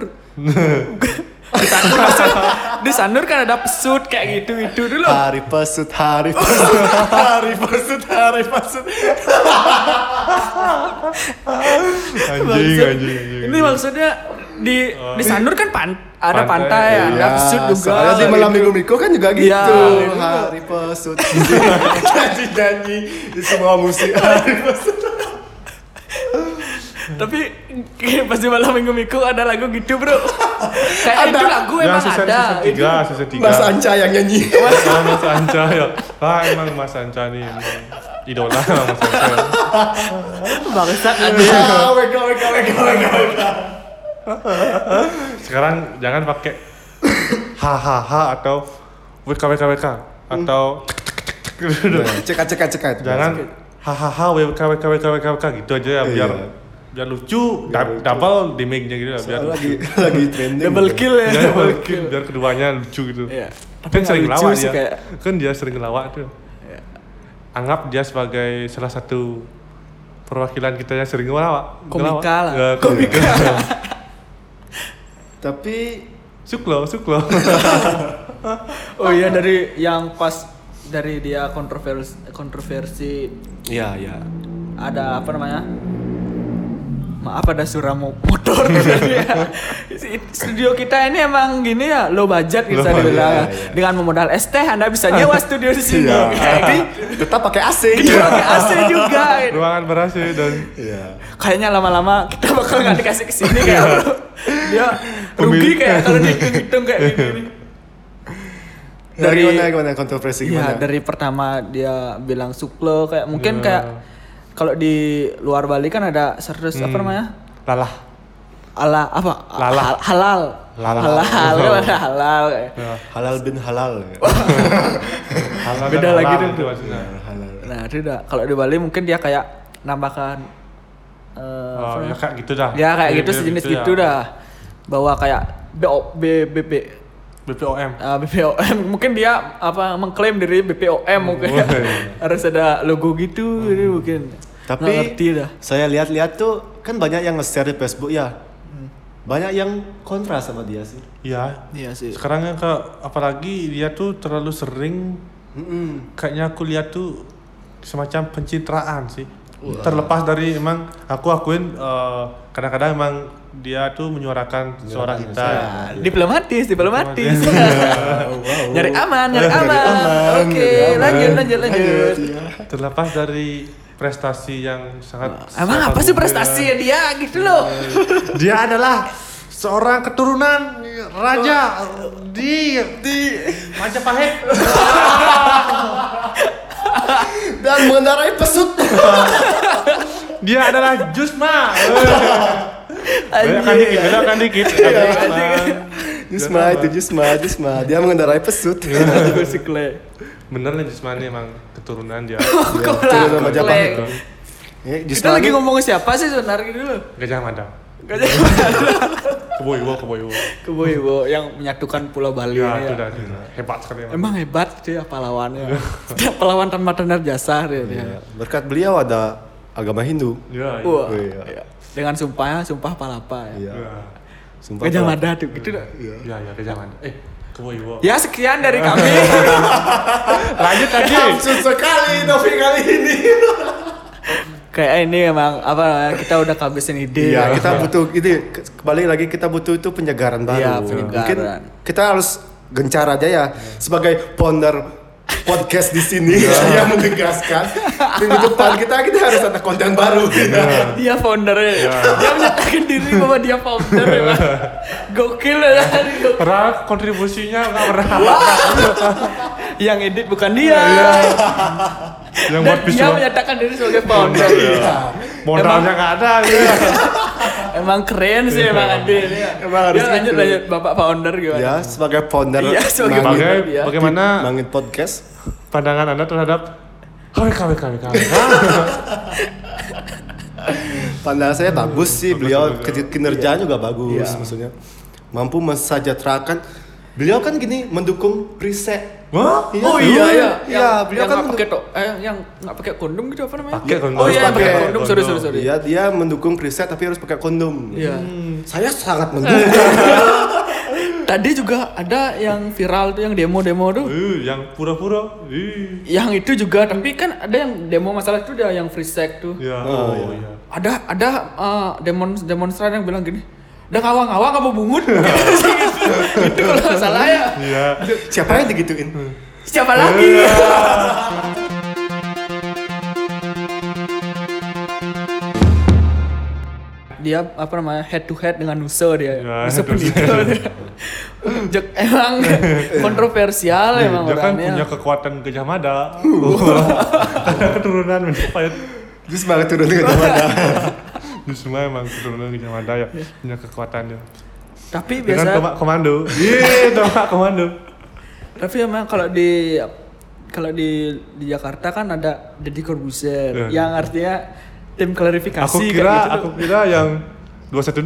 [SPEAKER 3] disandur maksud- disandur kan ada pesut kayak gitu itu dulu.
[SPEAKER 2] Hari pesut, hari pesut, hari pesut, hari pesut.
[SPEAKER 1] Anjing, anjing, anjing. Oh.
[SPEAKER 3] Ini maksudnya di disandur kan pan, ada
[SPEAKER 1] Pantai, iya.
[SPEAKER 3] pantai, ada pesut juga.
[SPEAKER 2] soalnya di malam minggu Miko kan juga gitu.
[SPEAKER 3] Iya.
[SPEAKER 2] Hari pesut. Jadi nyanyi di semua musik. Hari pesut.
[SPEAKER 3] Tapi kayak pas di malam minggu miku ada lagu gitu bro. kayak
[SPEAKER 2] Ada.
[SPEAKER 3] itu lagu
[SPEAKER 1] Ya,
[SPEAKER 3] emang
[SPEAKER 1] season,
[SPEAKER 3] ada.
[SPEAKER 1] season
[SPEAKER 3] Itu
[SPEAKER 1] 3, season 3.
[SPEAKER 2] Mas Anca yang nyanyi.
[SPEAKER 1] Oh, Mas Anca ya. Ah, emang Mas Anca nih emang idola Mas Anca.
[SPEAKER 3] bangsat ada.
[SPEAKER 2] Ah, weka, weka, weka, weka, weka.
[SPEAKER 1] Sekarang jangan pakai hahaha atau WKWKWK atau
[SPEAKER 3] Hmm.
[SPEAKER 2] Cekat, cekat, cekat.
[SPEAKER 1] jangan
[SPEAKER 3] Iya,
[SPEAKER 1] hahaha WKWKWKWK gitu aja ya biar
[SPEAKER 2] Iya.
[SPEAKER 1] biar
[SPEAKER 3] Iya,
[SPEAKER 1] lucu, dab- double damage-nya gitu lah biar
[SPEAKER 2] Soalnya lagi lagi trending. gitu.
[SPEAKER 3] Double kill ya.
[SPEAKER 1] Biar,
[SPEAKER 3] Double
[SPEAKER 1] biar, biar keduanya lucu gitu.
[SPEAKER 3] Iya.
[SPEAKER 1] Kan
[SPEAKER 3] nggak
[SPEAKER 1] sering
[SPEAKER 3] lucu
[SPEAKER 1] ngelawak
[SPEAKER 3] sih
[SPEAKER 1] dia.
[SPEAKER 3] kayak- Iya.
[SPEAKER 1] Kan dia sering ngelawak tuh. Anggap dia sebagai salah satu perwakilan kita yang sering ngelawak.
[SPEAKER 3] Komika
[SPEAKER 1] Ngelawak.
[SPEAKER 3] lah.
[SPEAKER 1] Ya, komika.
[SPEAKER 2] Tapi
[SPEAKER 1] suklo, suklo.
[SPEAKER 3] Oh iya dari yang pas dari dia kontroversi kontroversi
[SPEAKER 2] Iya, iya.
[SPEAKER 3] ada apa namanya? Maaf ada suram motor Iya. Studio kita ini emang gini ya, low budget bisa
[SPEAKER 1] Low budget,
[SPEAKER 3] dibilang.
[SPEAKER 2] iya, iya.
[SPEAKER 3] Dengan memodal es teh Anda bisa nyewa studio di sini.
[SPEAKER 2] Iya. Tapi
[SPEAKER 3] Tapi
[SPEAKER 2] tetap pakai AC.
[SPEAKER 3] pakai AC juga.
[SPEAKER 1] Ruangan berhasil dan
[SPEAKER 2] Iya.
[SPEAKER 3] Kayaknya lama-lama kita bakal nggak dikasih ke sini kayak bro. Dia rugi
[SPEAKER 1] Pemilik.
[SPEAKER 3] kayak kalau dihitung-hitung kayak
[SPEAKER 2] Iya.
[SPEAKER 3] gini.
[SPEAKER 2] Dari
[SPEAKER 3] Dari-
[SPEAKER 2] mana gimana kontroversi
[SPEAKER 3] Iya
[SPEAKER 2] gimana? Iya.
[SPEAKER 3] dari pertama dia bilang suklo kayak mungkin kayak kalau di luar Bali kan ada sertus
[SPEAKER 2] Hmm.
[SPEAKER 3] apa namanya
[SPEAKER 1] lalah.
[SPEAKER 3] ala apa
[SPEAKER 1] Lala.
[SPEAKER 3] Hal- halal
[SPEAKER 1] Lala.
[SPEAKER 3] halal kan ada halal kayak.
[SPEAKER 2] Halal bin halal. ya.
[SPEAKER 1] Halal
[SPEAKER 3] Beda
[SPEAKER 1] dan
[SPEAKER 3] lagi
[SPEAKER 1] halal
[SPEAKER 3] tuh.
[SPEAKER 1] itu maksudnya.
[SPEAKER 2] halal.
[SPEAKER 3] nah tidak kalau di Bali mungkin dia kayak nambahkan eh, apa
[SPEAKER 1] Oh, ya
[SPEAKER 3] namanya?
[SPEAKER 1] kayak gitu dah.
[SPEAKER 3] ya kayak gitu
[SPEAKER 1] Mirip-mirip
[SPEAKER 3] sejenis
[SPEAKER 1] ya.
[SPEAKER 3] gitu dah bahwa kayak BO, B, B, B,
[SPEAKER 1] BPOM
[SPEAKER 3] eh, BPOM mungkin dia apa mengklaim diri BPOM mungkin
[SPEAKER 1] Woi.
[SPEAKER 3] harus ada logo gitu jadi mungkin
[SPEAKER 2] Tapi
[SPEAKER 3] nggak ngerti dah
[SPEAKER 2] saya lihat-lihat tuh kan banyak yang nge-share di Facebook ya. Banyak yang kontra sama dia sih.
[SPEAKER 1] ya
[SPEAKER 3] iya sih
[SPEAKER 1] sekarang ya kak apalagi dia tuh terlalu sering
[SPEAKER 2] Mm-mm.
[SPEAKER 1] kayaknya aku lihat tuh semacam pencitraan sih terlepas dari emang aku akuin eh, kadang-kadang emang dia tuh menyuarakan suara kita
[SPEAKER 2] suara.
[SPEAKER 3] diplomatis diplomatis
[SPEAKER 2] wow.
[SPEAKER 3] nyari aman nyari aman
[SPEAKER 2] Oh. aman,
[SPEAKER 3] oke
[SPEAKER 2] nyari aman.
[SPEAKER 3] lanjut lanjut lanjut
[SPEAKER 2] Iya.
[SPEAKER 1] terlepas dari prestasi yang sangat
[SPEAKER 3] emang
[SPEAKER 1] sangat
[SPEAKER 3] apa sih
[SPEAKER 1] mulia.
[SPEAKER 3] prestasinya dia gitu loh
[SPEAKER 1] dia adalah seorang keturunan raja di di Majapahit
[SPEAKER 2] Dan mengendarai pesut.
[SPEAKER 1] dia adalah Jusma belokan
[SPEAKER 2] kan
[SPEAKER 3] Anjing.
[SPEAKER 1] dikit belokan dikit
[SPEAKER 3] Iya,
[SPEAKER 1] kan. Emang.
[SPEAKER 2] Jusma itu Jusma, Jusma. Dia mengendarai pesut.
[SPEAKER 3] Iya. si Clay.
[SPEAKER 1] bener nih Jusma
[SPEAKER 3] Eh.
[SPEAKER 1] nih emang keturunan dia
[SPEAKER 3] Kok
[SPEAKER 2] betul, betul,
[SPEAKER 3] lah, Clay.
[SPEAKER 2] Majapahit. Eh,
[SPEAKER 3] Kita lagi ngomongin siapa sih sebenarnya gitu dulu?
[SPEAKER 1] Gajah Mada Keboiwo Keboiwo
[SPEAKER 3] Keboyo yang menyatukan Pulau Bali
[SPEAKER 1] ya, itu
[SPEAKER 3] ini ya.
[SPEAKER 1] dah, itu dah. hebat sekali emang
[SPEAKER 3] Emang hebat dia pahlawannya. dia pahlawan tanpa tanda jasa dia. dia.
[SPEAKER 2] Iya. Berkat beliau ada agama Hindu.
[SPEAKER 1] ya, iya.
[SPEAKER 3] Wah.
[SPEAKER 2] Iya.
[SPEAKER 3] iya. Dengan sumpahnya sumpah palapa ya.
[SPEAKER 1] ya
[SPEAKER 2] Sumpah. Iya.
[SPEAKER 3] Gajah
[SPEAKER 2] Pak.
[SPEAKER 3] Mada tuh gitu. dah.
[SPEAKER 1] ya ya Gajah Mada eh Keboiwo
[SPEAKER 3] Ya sekian dari kami.
[SPEAKER 1] lanjut lagi
[SPEAKER 2] Absurd sekali Novi kali ini.
[SPEAKER 3] Kayak ini emang apa namanya, kita udah kehabisan ide. ya.
[SPEAKER 2] Iya, kita butuh ini ke- kembali lagi kita butuh itu penyegaran baru.
[SPEAKER 3] Iya, penyegaran.
[SPEAKER 2] Mungkin kita harus gencar aja ya sebagai founder podcast di sini saya menegaskan minggu depan kita kita harus ada konten baru.
[SPEAKER 3] Dia foundernya.
[SPEAKER 1] Iya.
[SPEAKER 3] Dia menyatakan diri bahwa dia founder ya. Bang. Gokil ya. gokil.
[SPEAKER 1] Padahal kontribusinya nggak pernah
[SPEAKER 3] Yang edit bukan dia.
[SPEAKER 1] Iya, yang
[SPEAKER 3] Dan
[SPEAKER 1] buat
[SPEAKER 3] dia
[SPEAKER 1] visual Iya,
[SPEAKER 3] menyatakan diri sebagai founder.
[SPEAKER 1] modalnya nggak ada
[SPEAKER 3] Iya,
[SPEAKER 1] gitu.
[SPEAKER 3] Emang keren
[SPEAKER 1] Iya.
[SPEAKER 3] sih emang Ade.
[SPEAKER 2] Emang harus
[SPEAKER 3] Ya, lanjut
[SPEAKER 2] gitu.
[SPEAKER 3] lanjut Bapak founder gitu. gimana?
[SPEAKER 2] ya, sebagai founder
[SPEAKER 3] Iya, sebagai
[SPEAKER 2] Mangit-
[SPEAKER 1] Bagai-
[SPEAKER 3] Iya.
[SPEAKER 1] bagaimana
[SPEAKER 2] Mangit podcast.
[SPEAKER 1] pandangan anda terhadap KWK KWK KWK
[SPEAKER 2] Pandangan saya bagus sih beliau
[SPEAKER 1] bagus,
[SPEAKER 2] kit- kinerjanya juga bagus maksudnya. Mampu mensejahterakan. Beliau kan gini mendukung riset.
[SPEAKER 1] wah
[SPEAKER 3] Oh iya iya.
[SPEAKER 2] Iya,
[SPEAKER 3] Yang-
[SPEAKER 2] beliau
[SPEAKER 3] yang
[SPEAKER 2] kan
[SPEAKER 3] nggak pakai to eh yang nggak pakai kondom gitu apa namanya?
[SPEAKER 1] Pakai kondom.
[SPEAKER 3] Oh iya, yang pakai
[SPEAKER 2] Pakai
[SPEAKER 3] kondom. Sorry sorry sorry.
[SPEAKER 2] Iya, dia mendukung riset tapi harus pakai kondom.
[SPEAKER 3] Iya.
[SPEAKER 2] Saya sangat mendukung.
[SPEAKER 3] Tadi juga ada yang viral tuh yang demo-demo tuh.
[SPEAKER 1] Uh, yang pura-pura Ih.
[SPEAKER 3] Yang itu juga tapi kan ada yang demo masalah itu dia yang free sex tuh.
[SPEAKER 1] ya oh,
[SPEAKER 2] Oh, iya.
[SPEAKER 1] iya
[SPEAKER 3] Ada ada eh, demon demonstran yang bilang gini, udah ngawang-ngawang apa bungut? itu kalau nggak salah ya.
[SPEAKER 1] iya
[SPEAKER 2] Siapa yang digituin?
[SPEAKER 3] Siapa lagi? dia apa namanya head to head dengan Nusa dia
[SPEAKER 1] Ya,
[SPEAKER 3] Nusa
[SPEAKER 1] head to
[SPEAKER 3] Penito Jek- emang kontroversial
[SPEAKER 1] Nih,
[SPEAKER 3] emang
[SPEAKER 1] dia kan
[SPEAKER 3] orangnya.
[SPEAKER 1] punya kekuatan Gajah Mada ada keturunan mencapai
[SPEAKER 2] Terus banget turun ke mana?
[SPEAKER 1] Ini semua emang keturunan Gajah Mada ya punya kekuatannya
[SPEAKER 3] tapi biasa
[SPEAKER 1] dengan kan tomak komando iya tomak komando
[SPEAKER 3] tapi emang kalau di kalau di di Jakarta kan ada Deddy Corbuzier
[SPEAKER 1] Ya.
[SPEAKER 3] yang artinya tim klarifikasi
[SPEAKER 1] aku
[SPEAKER 3] kayak
[SPEAKER 1] kira
[SPEAKER 3] gitu
[SPEAKER 1] aku
[SPEAKER 3] tuh.
[SPEAKER 1] kira yang 212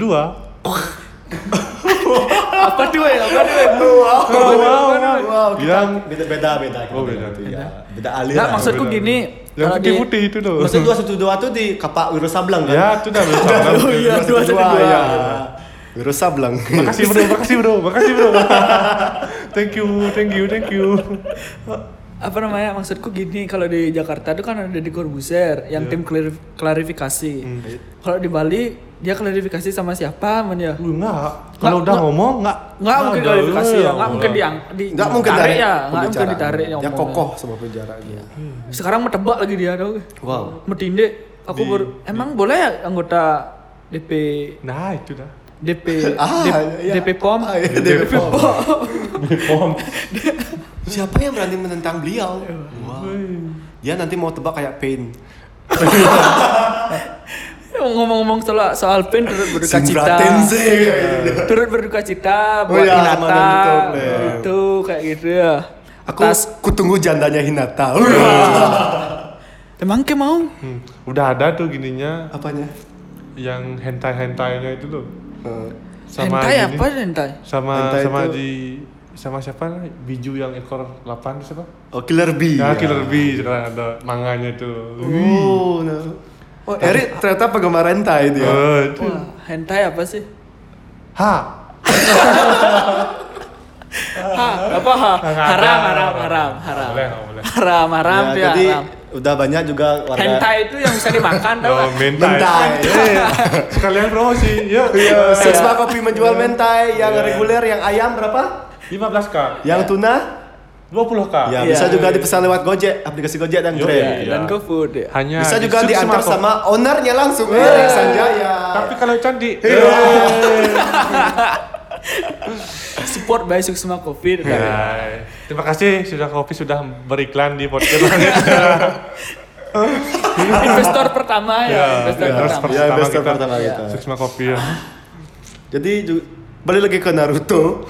[SPEAKER 3] apa tuh ya apa tuh ya?
[SPEAKER 1] wow, wow,
[SPEAKER 2] Oh, Wow,
[SPEAKER 1] Yang
[SPEAKER 2] kita beda beda beda.
[SPEAKER 1] Oh, beda.
[SPEAKER 2] Iya, beda aliran.
[SPEAKER 3] Nah, maksudku
[SPEAKER 1] benar.
[SPEAKER 3] gini,
[SPEAKER 1] Yang
[SPEAKER 3] kalau di-
[SPEAKER 1] putih-putih itu loh.
[SPEAKER 2] Maksud dua satu dua tuh di Kapak Wiro Sablang kan?
[SPEAKER 1] Ya, itu dah bisa.
[SPEAKER 3] Oh iya, 212,
[SPEAKER 2] ya.
[SPEAKER 3] ya.
[SPEAKER 2] Wiro Sablang.
[SPEAKER 1] Makasih bro, makasih bro, makasih bro. thank you, thank you, thank you.
[SPEAKER 3] apa namanya maksudku gini kalau di Jakarta itu kan ada di Corbuzier yang
[SPEAKER 1] Iya.
[SPEAKER 3] tim klarif- klarifikasi
[SPEAKER 1] Hmm.
[SPEAKER 3] kalau di Bali dia klarifikasi sama siapa man ya
[SPEAKER 1] Lu enggak. Kalau udah
[SPEAKER 3] nggak.
[SPEAKER 1] ngomong enggak.
[SPEAKER 3] nggak mungkin klarifikasi ya nggak mungkin diang di
[SPEAKER 2] Enggak mungkin
[SPEAKER 3] ditarik
[SPEAKER 2] dari
[SPEAKER 3] ya nggak mungkin
[SPEAKER 2] pembicaraan.
[SPEAKER 3] ditarik
[SPEAKER 2] Dia
[SPEAKER 3] ngomongnya. Hmm.
[SPEAKER 2] kokoh sama penjaranya.
[SPEAKER 3] sekarang mau tebak lagi dia tau
[SPEAKER 2] Wow.
[SPEAKER 3] metindek aku
[SPEAKER 1] Di-
[SPEAKER 3] baru emang boleh ya anggota DP
[SPEAKER 1] Nah, itu dah.
[SPEAKER 3] DP
[SPEAKER 2] Ah,
[SPEAKER 3] DP,
[SPEAKER 2] iya.
[SPEAKER 3] DP POM
[SPEAKER 2] Ah, iya, DP POM.
[SPEAKER 1] Bom.
[SPEAKER 2] Siapa yang berani menentang beliau? Wow. Dia nanti mau tebak kayak pain.
[SPEAKER 3] ngomong-ngomong soal soal pen turut berduka cita
[SPEAKER 2] Singkratense.
[SPEAKER 3] turut berduka cita
[SPEAKER 2] Oh
[SPEAKER 3] buat
[SPEAKER 2] iya,
[SPEAKER 3] Hinata
[SPEAKER 2] Madam Tople.
[SPEAKER 3] itu kayak gitu ya
[SPEAKER 2] Aku kutunggu jandanya Hinata.
[SPEAKER 3] Emang ke mau?
[SPEAKER 1] Hmm, Udah ada tuh gininya
[SPEAKER 2] Apanya?
[SPEAKER 1] yang hentai-hentainya itu loh. sama
[SPEAKER 3] hentai
[SPEAKER 1] gini.
[SPEAKER 3] apa hentai?
[SPEAKER 1] sama
[SPEAKER 2] Eh, Hentai
[SPEAKER 1] sama
[SPEAKER 2] itu-
[SPEAKER 1] di sama siapa biju yang ekor 8 siapa
[SPEAKER 2] Oh, Killer Bee.
[SPEAKER 1] ya Killer Bee sekarang ada manganya Eh, tuh
[SPEAKER 2] Oh, nah. Oh, Eri ternyata penggemar hentai dia.
[SPEAKER 1] Eh, itu.
[SPEAKER 3] iya. Wah, hentai apa sih?
[SPEAKER 1] ha
[SPEAKER 3] Ha, apa ha?
[SPEAKER 1] Nggak ada.
[SPEAKER 3] Haram, haram, haram, haram.
[SPEAKER 1] Boleh, nggak boleh.
[SPEAKER 3] Haram, haram,
[SPEAKER 2] Ya,
[SPEAKER 3] ya,
[SPEAKER 2] jadi
[SPEAKER 3] haram.
[SPEAKER 2] udah banyak juga warga
[SPEAKER 3] Hentai itu yang bisa dimakan tau
[SPEAKER 1] Oh,
[SPEAKER 3] nggak?
[SPEAKER 1] mentai.
[SPEAKER 2] Mentai.
[SPEAKER 1] Eh, sekalian promosi. ya. Yuk.
[SPEAKER 2] Iya, Sexpa Iya. Kopi menjual mentai yang
[SPEAKER 1] Iya.
[SPEAKER 2] reguler, yang ayam berapa?
[SPEAKER 1] 15K.
[SPEAKER 2] Yang
[SPEAKER 1] Iya.
[SPEAKER 2] tuna?
[SPEAKER 1] 20K.
[SPEAKER 2] Ya,
[SPEAKER 3] Iya.
[SPEAKER 2] bisa juga dipesan lewat Gojek, aplikasi Gojek dan
[SPEAKER 1] Yo,
[SPEAKER 3] Ya,
[SPEAKER 2] Grab.
[SPEAKER 1] iya.
[SPEAKER 3] Dan GoFood ya.
[SPEAKER 1] Hanya
[SPEAKER 2] Bisa
[SPEAKER 1] di
[SPEAKER 2] juga
[SPEAKER 1] Sukses
[SPEAKER 2] diantar
[SPEAKER 1] Marco.
[SPEAKER 2] sama ownernya langsung,
[SPEAKER 3] Iya.
[SPEAKER 2] Eri Sanjaya.
[SPEAKER 1] Tapi kalau eh, cantik.
[SPEAKER 2] Iya.
[SPEAKER 3] Support by Suksma Coffee. Iya.
[SPEAKER 1] Hai. Terima kasih sudah kopi sudah beriklan di podcast. Iya.
[SPEAKER 3] investor pertama ya, investor
[SPEAKER 1] Terus
[SPEAKER 3] pertama. Iya.
[SPEAKER 2] Ya, investor pertama kita.
[SPEAKER 1] Sukma kopi ya.
[SPEAKER 2] Jadi ju- balik lagi ke Naruto.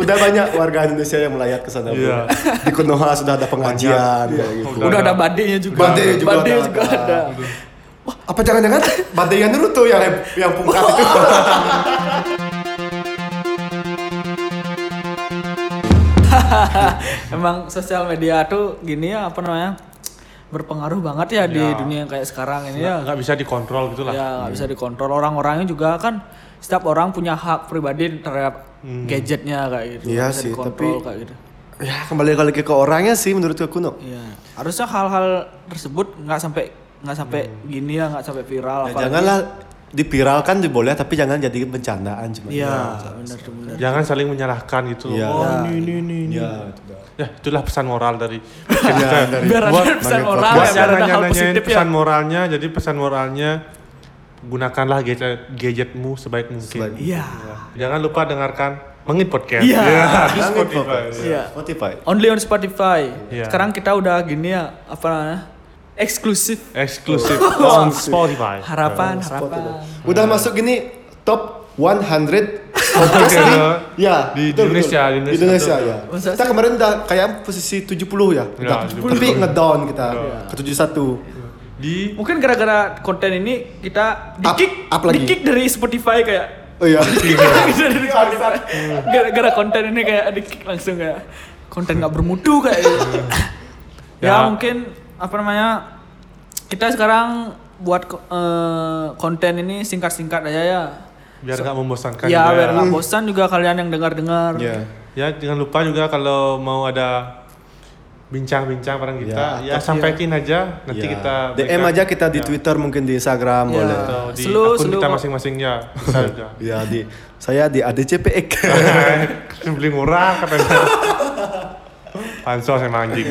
[SPEAKER 2] udah banyak warga Indonesia yang melayat ke sana.
[SPEAKER 1] Iya.
[SPEAKER 2] Bro. Di Konoha sudah ada pengajian kayak gitu.
[SPEAKER 1] Udah
[SPEAKER 3] Iya. Udah
[SPEAKER 1] ada.
[SPEAKER 3] ada badainya juga.
[SPEAKER 2] Badai juga
[SPEAKER 3] Badai
[SPEAKER 2] ada.
[SPEAKER 3] juga ada.
[SPEAKER 1] Ah,
[SPEAKER 2] Wah, apa jangan-jangan badai yang Naruto yang yang pungkat itu?
[SPEAKER 3] Emang sosial media tuh gini ya apa namanya? berpengaruh banget ya, di
[SPEAKER 1] Ya.
[SPEAKER 3] dunia yang kayak sekarang ini
[SPEAKER 1] Ya,
[SPEAKER 3] ya.
[SPEAKER 1] nggak bisa dikontrol gitu lah.
[SPEAKER 3] Ya nggak bisa dikontrol orang-orangnya juga kan setiap orang punya hak pribadi terhadap
[SPEAKER 1] Hmm.
[SPEAKER 3] gadgetnya kayak gitu.
[SPEAKER 2] Iya
[SPEAKER 3] Bisa
[SPEAKER 2] sih, tapi-
[SPEAKER 3] dikontrol kayak gitu.
[SPEAKER 2] ya kembali lagi ke orangnya sih menurut Ya, gue kuno.
[SPEAKER 3] Iya. Harusnya hal-hal tersebut nggak sampai nggak sampai
[SPEAKER 1] Hmm.
[SPEAKER 3] gini ya nggak sampai viral
[SPEAKER 2] Ya,
[SPEAKER 3] apalagi-
[SPEAKER 2] janganlah dipiralkan boleh tapi jangan jadi bencanaan cuma.
[SPEAKER 3] Iya, benar benar.
[SPEAKER 1] Jangan saling menyalahkan gitu loh.
[SPEAKER 2] Iya.
[SPEAKER 1] Oh, ini ini ini.
[SPEAKER 3] Iya.
[SPEAKER 2] Ya, itu dah.
[SPEAKER 1] Ya, itulah pesan moral dari
[SPEAKER 2] Ya, dari-
[SPEAKER 3] Biar ada
[SPEAKER 1] Buat-
[SPEAKER 3] pesan
[SPEAKER 2] bagi
[SPEAKER 3] moral, ya,
[SPEAKER 1] Buat
[SPEAKER 3] Iya, biar
[SPEAKER 1] yang
[SPEAKER 3] ada hal
[SPEAKER 1] nanya-nanyain
[SPEAKER 3] positif ya.
[SPEAKER 1] pesan moralnya, jadi pesan moralnya gunakanlah gadget gadgetmu sebaik mungkin.
[SPEAKER 3] Iya.
[SPEAKER 1] Jangan lupa dengarkan Mengit Podcast.
[SPEAKER 3] Iya.
[SPEAKER 1] di
[SPEAKER 2] Langit
[SPEAKER 1] Spotify.
[SPEAKER 2] fokus.
[SPEAKER 3] Iya.
[SPEAKER 2] Spotify.
[SPEAKER 3] Only on Spotify.
[SPEAKER 1] Iya.
[SPEAKER 3] Sekarang kita udah gini ya apa namanya? Eksklusif.
[SPEAKER 1] Eksklusif on Spotify.
[SPEAKER 3] Harapan,
[SPEAKER 1] Iya.
[SPEAKER 3] harapan.
[SPEAKER 2] Spotify. Udah
[SPEAKER 1] Hmm.
[SPEAKER 2] masuk gini top 100 podcast
[SPEAKER 1] Oke,
[SPEAKER 2] di,
[SPEAKER 1] ya.
[SPEAKER 2] ya,
[SPEAKER 1] Di
[SPEAKER 2] betul,
[SPEAKER 1] Indonesia,
[SPEAKER 2] betul.
[SPEAKER 1] di
[SPEAKER 2] Di
[SPEAKER 1] Indonesia.
[SPEAKER 2] Indonesia ya.
[SPEAKER 3] Masa
[SPEAKER 2] Kita
[SPEAKER 3] sih?
[SPEAKER 2] kemarin udah kayak posisi 70
[SPEAKER 1] Iya,
[SPEAKER 2] ya. Udah,
[SPEAKER 1] 70.
[SPEAKER 2] Tapi ngedown kita ke 71.
[SPEAKER 1] Di
[SPEAKER 3] Mungkin gara-gara konten ini kita
[SPEAKER 2] Up-
[SPEAKER 3] di-kick,
[SPEAKER 2] up lagi.
[SPEAKER 3] di-kick dari Spotify kayak
[SPEAKER 2] Oh iya.
[SPEAKER 3] Dari Spotify. gara-gara konten ini kayak di-kick langsung kayak konten nggak bermutu kayak gitu.
[SPEAKER 1] Ya.
[SPEAKER 3] ya, mungkin apa namanya kita sekarang buat ko- eh, konten ini singkat-singkat aja ya.
[SPEAKER 1] biar nggak membosankan
[SPEAKER 3] Ya,
[SPEAKER 1] juga.
[SPEAKER 3] biar nggak bosan juga kalian yang dengar-dengar.
[SPEAKER 2] Hmm. Iya.
[SPEAKER 1] Ya, jangan lupa juga kalau mau ada bincang-bincang bareng kita, ya,
[SPEAKER 2] Ya,
[SPEAKER 1] sampaikan aja nanti
[SPEAKER 2] Ya.
[SPEAKER 1] kita Iya.
[SPEAKER 2] DM
[SPEAKER 1] berikan.
[SPEAKER 2] aja kita di Twitter mungkin di Instagram
[SPEAKER 3] Ya.
[SPEAKER 2] boleh.
[SPEAKER 1] atau di
[SPEAKER 3] Slow,
[SPEAKER 1] akun
[SPEAKER 3] slow
[SPEAKER 1] kita
[SPEAKER 3] kok.
[SPEAKER 1] masing-masingnya bisa juga.
[SPEAKER 2] Ya di saya di ADCPX.
[SPEAKER 1] beli murah katanya pansos emang anjing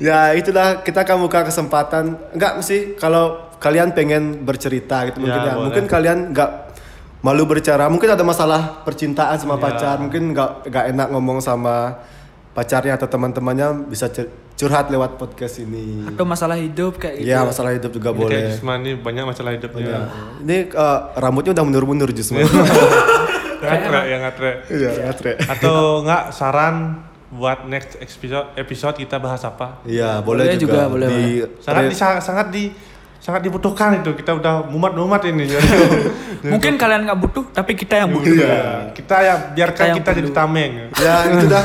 [SPEAKER 2] ya itulah kita akan buka kesempatan. Enggak mesti kalau kalian pengen bercerita gitu mungkin
[SPEAKER 1] Ya,
[SPEAKER 2] ya.
[SPEAKER 1] boleh.
[SPEAKER 2] Mungkin kalian enggak malu berbicara, mungkin ada masalah percintaan sama
[SPEAKER 1] Ya.
[SPEAKER 2] pacar, mungkin enggak enggak enak ngomong sama pacarnya atau teman-temannya bisa cur- curhat lewat podcast ini.
[SPEAKER 3] Atau masalah hidup kayak gitu.
[SPEAKER 2] Ya masalah hidup juga
[SPEAKER 1] Ini
[SPEAKER 2] boleh. Ya. Iya.
[SPEAKER 1] kayak ya. Jusman ini banyak masalah hidupnya
[SPEAKER 2] Ini eh, rambutnya udah menur-menur justru.
[SPEAKER 1] ngatre ya ngatre
[SPEAKER 2] Iya, Atre.
[SPEAKER 1] atau enggak saran buat next episode episode kita bahas apa
[SPEAKER 2] Iya, boleh,
[SPEAKER 3] Boleh juga,
[SPEAKER 2] juga,
[SPEAKER 3] boleh,
[SPEAKER 2] di
[SPEAKER 1] sangat di, sangat di sangat dibutuhkan itu kita udah mumat-mumat ini Jadi,
[SPEAKER 3] Mungkin kalian nggak butuh, tapi kita yang butuh.
[SPEAKER 1] ya, kita ya biarkan kita,
[SPEAKER 3] Kita yang
[SPEAKER 1] jadi
[SPEAKER 3] perlu.
[SPEAKER 1] tameng
[SPEAKER 2] ya itu dah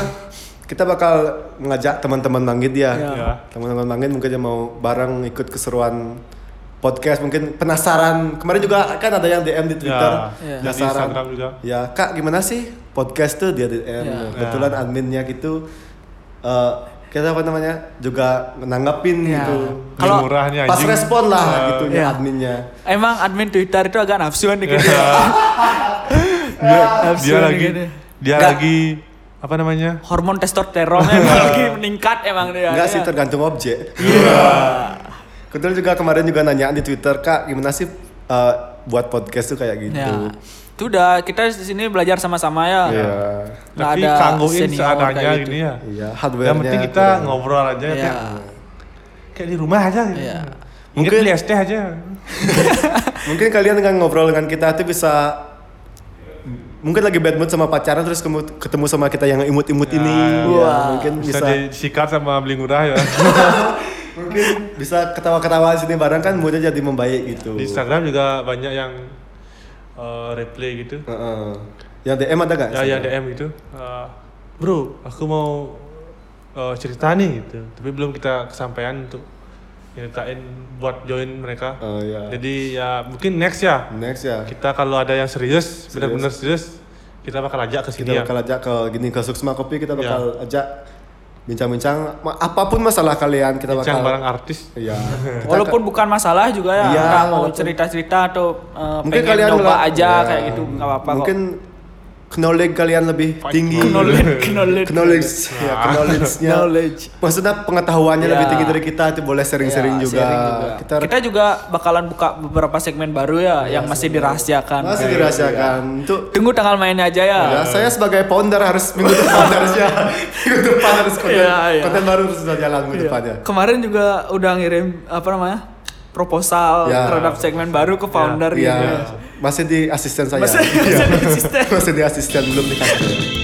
[SPEAKER 2] kita bakal ngajak teman-teman Manggit ya.
[SPEAKER 3] Iya.
[SPEAKER 1] Iya.
[SPEAKER 2] Teman-teman Manggit mungkin yang mau bareng ikut keseruan podcast mungkin penasaran. Kemarin juga kan ada yang DM di Twitter
[SPEAKER 1] Iya. Di
[SPEAKER 2] penasaran.
[SPEAKER 1] Instagram juga.
[SPEAKER 2] Ya, Kak gimana sih podcast tuh dia DM.
[SPEAKER 3] Iya.
[SPEAKER 2] Kebetulan adminnya gitu eh, kita apa namanya juga menanggapin
[SPEAKER 3] Iya.
[SPEAKER 2] gitu.
[SPEAKER 1] Kalau-
[SPEAKER 2] Beli murah nih, pas
[SPEAKER 1] anjing.
[SPEAKER 2] respon lah
[SPEAKER 1] Iya.
[SPEAKER 2] gitu
[SPEAKER 3] Iya.
[SPEAKER 2] adminnya.
[SPEAKER 3] Emang admin Twitter itu agak nafsuan dikit.
[SPEAKER 2] Iya.
[SPEAKER 1] Ya. dia,
[SPEAKER 3] Iya,
[SPEAKER 1] dia
[SPEAKER 3] Absurd
[SPEAKER 1] lagi
[SPEAKER 3] gitu.
[SPEAKER 1] dia
[SPEAKER 2] Nggak.
[SPEAKER 1] lagi apa namanya
[SPEAKER 3] Hormon testosteronnya emang lagi meningkat emang dia.
[SPEAKER 2] Iya. Enggak
[SPEAKER 3] Iya.
[SPEAKER 2] sih tergantung objek.
[SPEAKER 1] Iya.
[SPEAKER 2] Kebetulan juga kemarin juga nanyaan di Twitter, Kak, gimana sih eh, buat podcast tuh kayak gitu.
[SPEAKER 3] Ya. Itu udah kita di sini belajar sama-sama ya.
[SPEAKER 2] Iya.
[SPEAKER 3] Nggak
[SPEAKER 1] tapi
[SPEAKER 3] ada
[SPEAKER 1] kangguin
[SPEAKER 3] senior
[SPEAKER 1] seadanya
[SPEAKER 3] kayak gitu.
[SPEAKER 1] ini ya
[SPEAKER 2] Iya,
[SPEAKER 1] yang
[SPEAKER 2] hardware-nya.
[SPEAKER 1] penting kita
[SPEAKER 2] kurang.
[SPEAKER 1] ngobrol aja
[SPEAKER 3] Iya.
[SPEAKER 1] kayak kayak di rumah aja gitu.
[SPEAKER 3] Iya.
[SPEAKER 1] Mungkin
[SPEAKER 2] Mungkin-
[SPEAKER 1] beli es teh aja.
[SPEAKER 2] Mungkin kalian dengan ngobrol dengan kita tuh bisa mungkin lagi bad mood sama pacaran terus kemu- ketemu sama kita yang imut-imut
[SPEAKER 1] Ya,
[SPEAKER 2] ini.
[SPEAKER 1] ya.
[SPEAKER 2] Ya,
[SPEAKER 3] Wah.
[SPEAKER 2] mungkin
[SPEAKER 1] Bisa,
[SPEAKER 2] bisa
[SPEAKER 1] disikat sama beli murah ya.
[SPEAKER 2] mungkin bisa ketawa-ketawa di sini bareng kan moodnya jadi membaik gitu.
[SPEAKER 1] di Instagram juga banyak yang eh, replay gitu
[SPEAKER 2] Heeh. Yang DM ada gak?
[SPEAKER 1] ya ya DM gitu eh, bro aku mau eh, cerita nih gitu tapi belum kita kesampaian untuk nyeritain buat join mereka
[SPEAKER 2] Oh, iya.
[SPEAKER 1] jadi ya mungkin next ya
[SPEAKER 2] Next ya.
[SPEAKER 1] kita kalau ada yang serius benar-benar serius kita bakal ajak ke
[SPEAKER 2] Kita
[SPEAKER 1] sini ya
[SPEAKER 2] bakal ajak ke gini ke Suksma Kopi kita
[SPEAKER 1] Iya.
[SPEAKER 2] bakal ajak bincang-bincang ma- apapun masalah kalian kita
[SPEAKER 1] Bincang
[SPEAKER 2] bakal
[SPEAKER 1] bareng artis
[SPEAKER 2] Iya. Kita
[SPEAKER 3] Walaupun bukan masalah juga ya,
[SPEAKER 2] Iya,
[SPEAKER 3] nggak mau
[SPEAKER 2] walaupun-
[SPEAKER 3] cerita-cerita atau eh,
[SPEAKER 2] mungkin
[SPEAKER 3] pengen
[SPEAKER 2] kalian
[SPEAKER 3] coba
[SPEAKER 2] ngela-
[SPEAKER 3] aja
[SPEAKER 1] Iya.
[SPEAKER 2] Ya.
[SPEAKER 3] kayak gitu nggak apa-apa
[SPEAKER 2] Mungkin knowledge kalian lebih tinggi.
[SPEAKER 3] kok. Knowledge,
[SPEAKER 2] Iya.
[SPEAKER 3] knowledge,
[SPEAKER 2] knowledge ya
[SPEAKER 1] Nah.
[SPEAKER 2] knowledge-nya.
[SPEAKER 3] Knowledge.
[SPEAKER 2] Maksudnya pengetahuannya
[SPEAKER 3] Iya.
[SPEAKER 2] lebih tinggi dari kita itu boleh sharing-sharing
[SPEAKER 3] Ya,
[SPEAKER 2] Iya, juga.
[SPEAKER 3] sharing
[SPEAKER 2] Kita,
[SPEAKER 3] Kita juga bakalan buka beberapa segmen baru ya, yang masih dirahasiakan.
[SPEAKER 2] Iya, masih dirahasiakan.
[SPEAKER 3] Iya.
[SPEAKER 2] Untuk
[SPEAKER 3] Tunggu tanggal mainnya aja ya.
[SPEAKER 2] Ya, saya sebagai founder harus minggu depan harusnya minggu depan harus konten,
[SPEAKER 3] Iya, iya.
[SPEAKER 2] konten baru harus sudah jalan minggu depannya.
[SPEAKER 3] Kemarin juga udah ngirim apa namanya proposal
[SPEAKER 2] Ya.
[SPEAKER 3] terhadap segmen baru ke founder
[SPEAKER 2] Iya,
[SPEAKER 3] gitu.
[SPEAKER 2] masih di asisten saya.
[SPEAKER 3] Masih- masih di asisten.
[SPEAKER 2] masih di asisten belum di kantor.